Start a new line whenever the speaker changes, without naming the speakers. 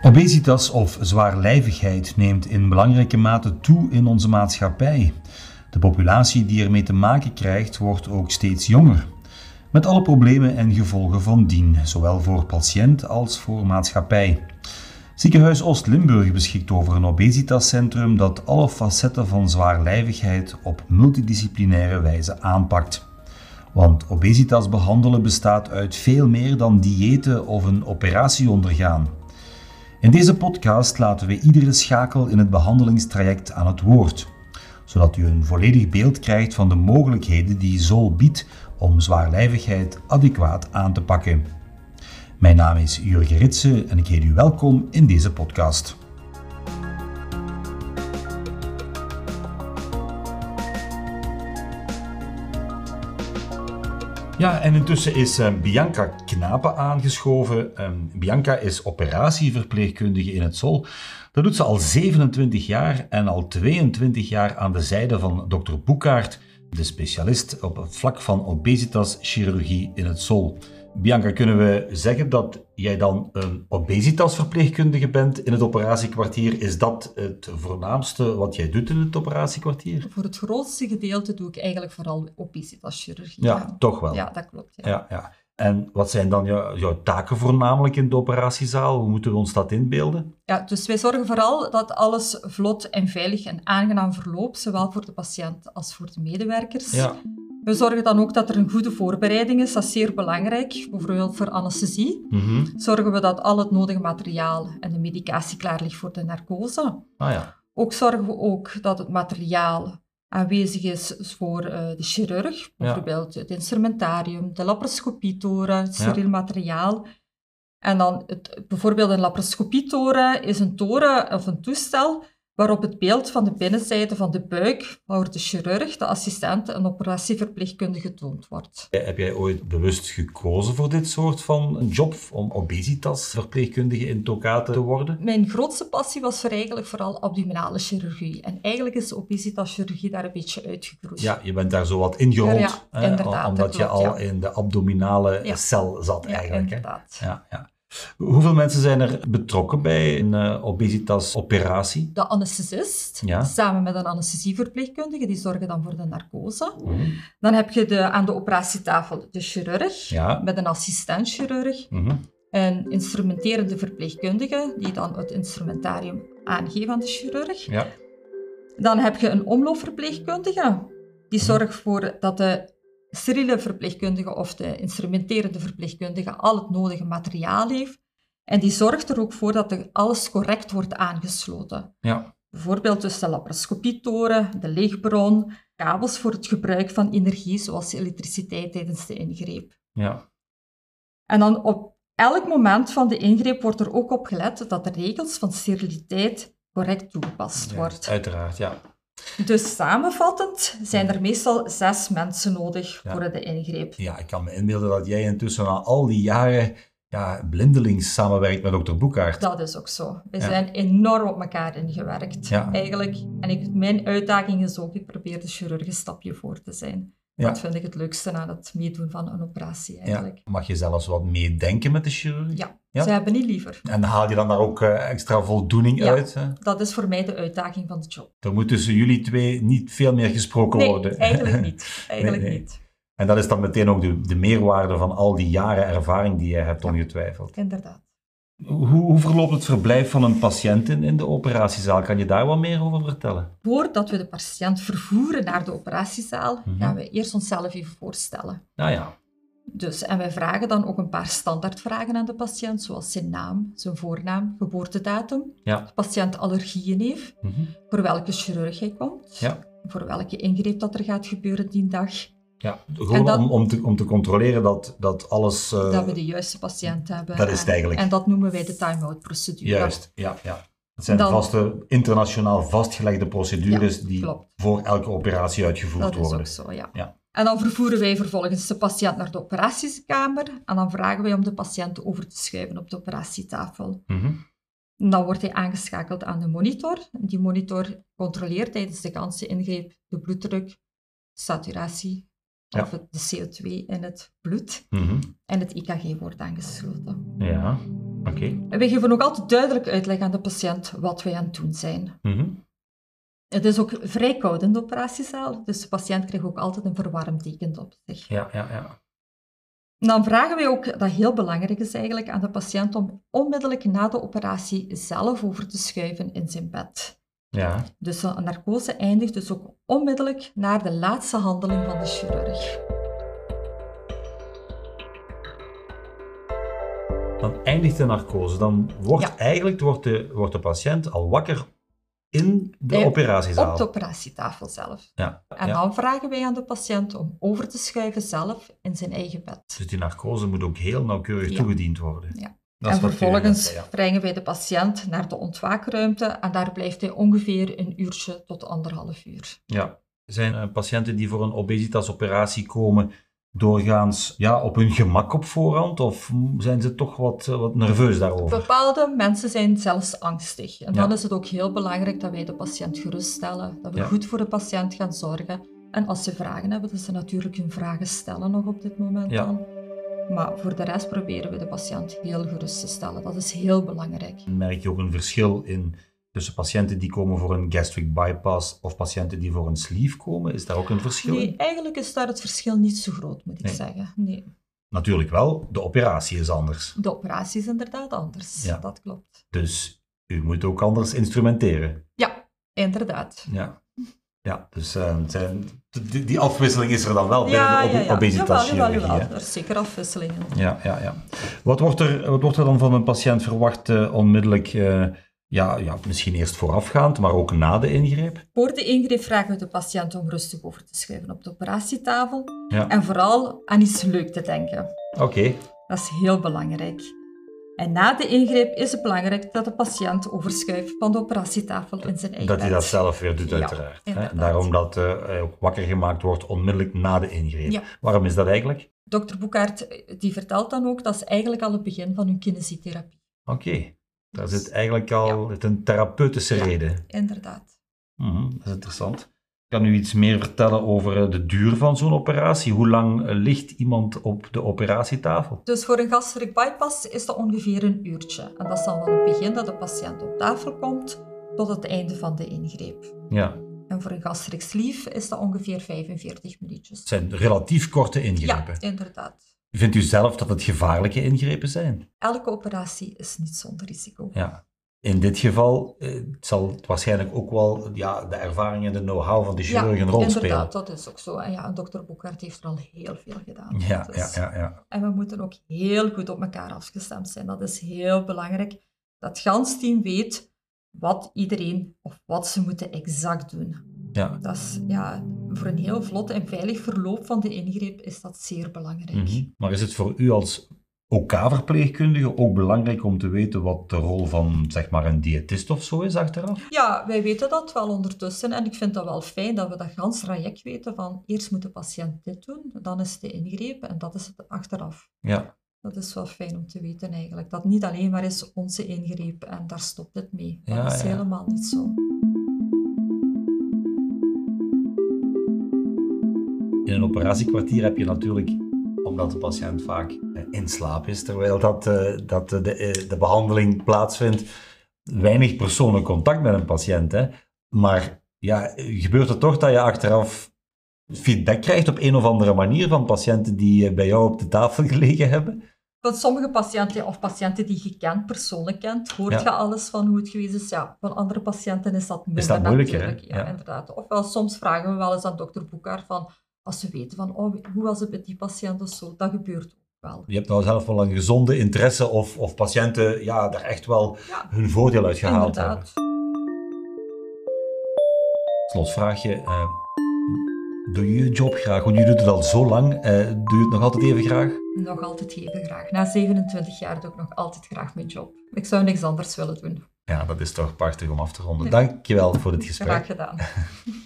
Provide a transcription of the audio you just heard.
Obesitas of zwaarlijvigheid neemt in belangrijke mate toe in onze maatschappij. De populatie die ermee te maken krijgt, wordt ook steeds jonger. Met alle problemen en gevolgen van dien, zowel voor patiënt als voor maatschappij. Ziekenhuis Oost-Limburg beschikt over een obesitascentrum dat alle facetten van zwaarlijvigheid op multidisciplinaire wijze aanpakt. Want obesitas behandelen bestaat uit veel meer dan diëten of een operatie ondergaan. In deze podcast laten we iedere schakel in het behandelingstraject aan het woord, zodat u een volledig beeld krijgt van de mogelijkheden die ZOL biedt om zwaarlijvigheid adequaat aan te pakken. Mijn naam is Jurgen Ritsen en ik heet u welkom in deze podcast. Ja, en intussen is eh, Bianca Knapen aangeschoven. Eh, Bianca is operatieverpleegkundige in het ZOL. Dat doet ze al 27 jaar en al 22 jaar aan de zijde van dokter Boekaert, de specialist op het vlak van obesitaschirurgie in het ZOL. Bianca, kunnen we zeggen dat jij dan een obesitasverpleegkundige bent in het operatiekwartier? Is dat het voornaamste wat jij doet in het operatiekwartier?
Voor het grootste gedeelte doe ik eigenlijk vooral obesitaschirurgie.
Ja, toch wel.
ja, dat klopt. Ja.
Ja, ja. En wat zijn dan jou- jouw taken voornamelijk in de operatiezaal? Hoe moeten we ons dat inbeelden?
Ja, dus wij zorgen vooral dat alles vlot en veilig en aangenaam verloopt, zowel voor de patiënt als voor de medewerkers. We zorgen dan ook dat er een goede voorbereiding is, dat is zeer belangrijk. Bijvoorbeeld voor anesthesie
Mhm.
zorgen we dat al het nodige materiaal en de medicatie klaar ligt voor de narcose.
Ah ja.
Ook zorgen we ook dat het materiaal aanwezig is voor eh, de chirurg. Bijvoorbeeld het instrumentarium, de laparoscopietoren, het
Ja.
steriel materiaal. En dan het, bijvoorbeeld een laparoscopietoren is een toren of een toestel waarop het beeld van de binnenzijde van de buik, waar de chirurg, de assistent en operatieverpleegkundige getoond wordt.
Eh, Heb jij ooit bewust gekozen voor dit soort van job, om obesitasverpleegkundige in Tokate te worden?
Mijn grootste passie was voor eigenlijk vooral abdominale chirurgie. En eigenlijk is obesitaschirurgie daar een beetje uitgegroeid.
Ja, je bent daar zo wat ingerold,
Ja, ja,
eh,
inderdaad,
omdat
dat
je
klopt,
al
ja.
in de abdominale
Ja.
cel zat
Ja,
eigenlijk. hè?
inderdaad.
Ja, ja. Hoeveel mensen zijn er betrokken bij een eh, obesitas-operatie?
de anesthesist,
Ja.
samen met een anesthesieverpleegkundige, die zorgen dan voor de narcose. Dan heb je de, aan de operatietafel de chirurg,
Ja.
met een assistent-chirurg,
Mhm.
een instrumenterende verpleegkundige, die dan het instrumentarium aangeeft aan de chirurg.
Ja.
Dan heb je een omloopverpleegkundige, die
Mhm.
zorgt voor dat de steriele verpleegkundige of de instrumenterende verpleegkundige al het nodige materiaal heeft. En die zorgt er ook voor dat er alles correct wordt aangesloten.
ja.
Bijvoorbeeld tussen de laparoscopietoren, de leegbron, kabels voor het gebruik van energie zoals elektriciteit tijdens de ingreep.
Ja.
En dan op elk moment van de ingreep wordt er ook op gelet dat de regels van steriliteit correct toegepast
Ja,
wordt.
Uiteraard, ja.
Dus samenvattend zijn er meestal zes mensen nodig
Ja.
voor de ingreep.
Ja, ik kan me inbeelden dat jij intussen na al die jaren ja, blindelings samenwerkt met dokter Boekaert.
Dat is ook zo. We
Ja.
zijn enorm op elkaar ingewerkt,
Ja.
eigenlijk. En ik, mijn uitdaging is ook, ik probeer de chirurg een stapje voor te zijn.
Ja.
Dat vind ik het leukste aan het meedoen van een operatie, eigenlijk.
ja. Mag je zelfs wat meedenken met de chirurg?
Ja,
Ja?
ze hebben niet liever.
En haal je dan daar ook eh, extra voldoening
Ja.
uit? Hè?
Dat is voor mij de uitdaging van de job.
Er moet tussen jullie twee niet veel meer gesproken
Nee,
worden.
eigenlijk niet. Eigenlijk
Nee, nee.
niet.
en dat is dan meteen ook de, de meerwaarde van al die jaren ervaring die jij hebt ongetwijfeld.
Inderdaad.
Hoe, hoe verloopt het verblijf van een patiënt in, in de operatiezaal? Kan je daar wat meer over vertellen?
Voordat we de patiënt vervoeren naar de operatiezaal,
Mhm.
gaan we eerst onszelf even voorstellen.
Nou ja.
Dus, en wij vragen dan ook een paar standaardvragen aan de patiënt, zoals zijn naam, zijn voornaam, geboortedatum,
Ja.
de patiënt allergieën heeft,
Mhm.
voor welke chirurg hij komt,
Ja.
voor welke ingreep dat er gaat gebeuren die dag,
Ja, gewoon
dat-
om, om, te, om te controleren dat, dat alles... eh,
dat we de juiste patiënt hebben.
dat is het
En-
eigenlijk.
En dat noemen wij de time-out-procedure.
Juist, ja. ja. Het zijn
Dan-
vaste, internationaal vastgelegde procedures
Ja,
die
klopt.
voor elke operatie uitgevoerd
Dat is
worden.
ook zo, ja.
Ja.
En dan vervoeren wij vervolgens de patiënt naar de operatiekamer en dan vragen wij om de patiënt over te schuiven op de operatietafel.
Mhm.
En dan wordt hij aangeschakeld aan de monitor. En Die monitor controleert tijdens de ganse ingreep de bloeddruk, saturatie
Ja.
of het- de CO2 in het bloed
Mhm.
en het EKG wordt aangesloten.
Ja. Oké.
En we geven ook altijd duidelijk uitleg aan de patiënt wat wij aan het doen zijn.
Mhm.
Het is ook vrij koud in de operatiezaal, dus de patiënt krijgt ook altijd een verwarmd deken op zich.
Ja, ja, ja.
Dan vragen wij ook, dat heel belangrijk is eigenlijk, aan de patiënt om onmiddellijk na de operatie zelf over te schuiven in zijn bed.
Ja,
Dus een narcose eindigt dus ook onmiddellijk naar de laatste handeling van de chirurg.
dan eindigt de narcose. Dan wordt
Ja.
eigenlijk wordt de, wordt de patiënt al wakker in de
Eh,
operatiezaal.
Op de operatietafel zelf.
Ja,
En
ja.
dan vragen wij aan de patiënt om over te schuiven zelf in zijn eigen bed.
Dus die narcose moet ook heel nauwkeurig
Ja.
toegediend worden.
Ja.
Dat
en
is wat jullie net
vervolgens
zeiden,
brengen wij de patiënt naar de ontwaakruimte en daar blijft hij ongeveer een uurtje tot anderhalf uur.
ja. Ja. Zijn eh, patiënten die voor een obesitasoperatie komen doorgaans ja, op hun gemak op voorhand? Of mm, zijn ze toch wat, eh, wat nerveus daarover?
Bepaalde mensen zijn zelfs angstig. En
Ja.
dan is het ook heel belangrijk dat wij de patiënt geruststellen, dat we
Ja.
goed voor de patiënt gaan zorgen. En als ze vragen hebben, dat ze natuurlijk hun vragen stellen nog op dit moment
Ja.
dan. Maar voor de rest proberen we de patiënt heel gerust te stellen. Dat is heel belangrijk.
Merk je ook een verschil in tussen patiënten die komen voor een gastric bypass of patiënten die voor een sleeve komen? Is daar ook een verschil in?
Nee, eigenlijk is daar het verschil niet zo groot, moet ik
Nee.
zeggen. Nee.
Natuurlijk wel, de operatie is anders.
De operatie is inderdaad anders.
Ja.
Dat klopt.
Dus u moet ook anders instrumenteren.
Ja, inderdaad.
Ja. Ja, dus eh, het zijn, die, die afwisseling is er dan wel
ja,
binnen de
ja.
ob-
Jawel, jawel,
obesitaschirurgie.
jawel.
hè?
Er is zeker afwisseling in.
Ja, ja, ja. Wat wordt, er, wat wordt er dan van een patiënt verwacht eh, onmiddellijk? eh, ja, ja, misschien eerst voorafgaand, maar ook na de ingreep.
Voor de ingreep vragen we de patiënt om rustig over te schuiven op de operatietafel.
Ja.
En vooral aan iets leuk te denken.
Oké,
Dat is heel belangrijk. En na de ingreep is het belangrijk dat de patiënt overschuift van de operatietafel in zijn eigen
dat hij
bed.
dat zelf weer doet,
Ja,
uiteraard. hè?
inderdaad.
Daarom dat eh, hij ook wakker gemaakt wordt onmiddellijk na de ingreep.
Ja.
Waarom is dat eigenlijk?
Dokter Boekaert eh, die vertelt dan ook, dat is eigenlijk al het begin van hun kinesietherapie. Dus
Oké, daar zit eigenlijk al het een therapeutische
Ja.
reden.
Inderdaad.
Mhm, dat is interessant. Kan u iets meer vertellen over eh, de duur van zo'n operatie? Hoe lang eh, ligt iemand op de operatietafel?
Dus voor een gastric bypass is dat ongeveer een uurtje. En dat is dan van het begin dat de patiënt op tafel komt tot het einde van de ingreep.
Ja,
En voor een gastric sleeve is dat ongeveer 45
het
minuutjes.
zijn relatief korte ingrepen.
Ja, inderdaad.
Vindt u zelf dat het gevaarlijke ingrepen zijn?
Elke operatie is niet zonder risico.
Ja. In dit geval eh, het zal het waarschijnlijk ook wel ja, de ervaring en de know-how van de chirurg een rol spelen.
inderdaad, dat is ook zo. En ja, en dokter Boekert heeft er al heel veel gedaan.
Ja, ja,
Dus-
ja, ja.
En we moeten ook heel goed op elkaar afgestemd zijn. Dat is heel belangrijk. Dat het gans team weet wat iedereen of wat ze moeten exact doen.
ja.
Dat is ja, voor een heel vlot en veilig verloop van de ingreep is dat zeer belangrijk.
Mhm. Maar is het voor u als OK-verpleegkundige ook belangrijk om te weten wat de rol van zeg maar, een diëtist of zo is achteraf?
Ja, wij weten dat wel ondertussen. En ik vind dat wel fijn dat we dat gans traject weten van eerst moet de patiënt dit doen, dan is de ingreep en dat is het achteraf.
Ja,
Dat is wel fijn om te weten eigenlijk. Dat niet alleen maar is onze ingreep en daar stopt het mee. Dat
Ja,
is
ja.
helemaal niet zo.
in een operatiekwartier heb je natuurlijk, omdat de patiënt vaak eh, in slaap is, terwijl dat, eh, dat eh, de, eh, de behandeling plaatsvindt, weinig persoonlijk contact met een patiënt. Hè? Maar ja, eh, gebeurt het toch dat je achteraf feedback krijgt op een of andere manier van patiënten die eh, bij jou op de tafel gelegen hebben?
Want sommige patiënten, of patiënten die je kent, persoonlijk kent, hoort
Ja.
je alles van hoe het geweest is. Ja, van andere patiënten is dat minder
dat moeilijker, hè?
natuurlijk. Ja,
Ja.
inderdaad. Ofwel, soms vragen we wel eens aan dokter Boekaert van, als ze weten van, oh, hoe was het met die patiënt of zo, dat gebeurt ook wel.
Je hebt nou zelf wel een gezonde interesse of, of patiënten ja, daar echt wel
Ja,
hun voordeel uit gehaald hebben.
inderdaad.
Slotvraagje. eh doe je je job graag? Want je doet het al zo lang. eh, doe je het nog altijd even graag?
Nog altijd even graag. Na 27 jaar doe ik nog altijd graag mijn job. Ik zou niks anders willen doen.
Ja, dat is toch prachtig om af te ronden.
Ja.
Dankjewel voor dit gesprek.
Graag gedaan.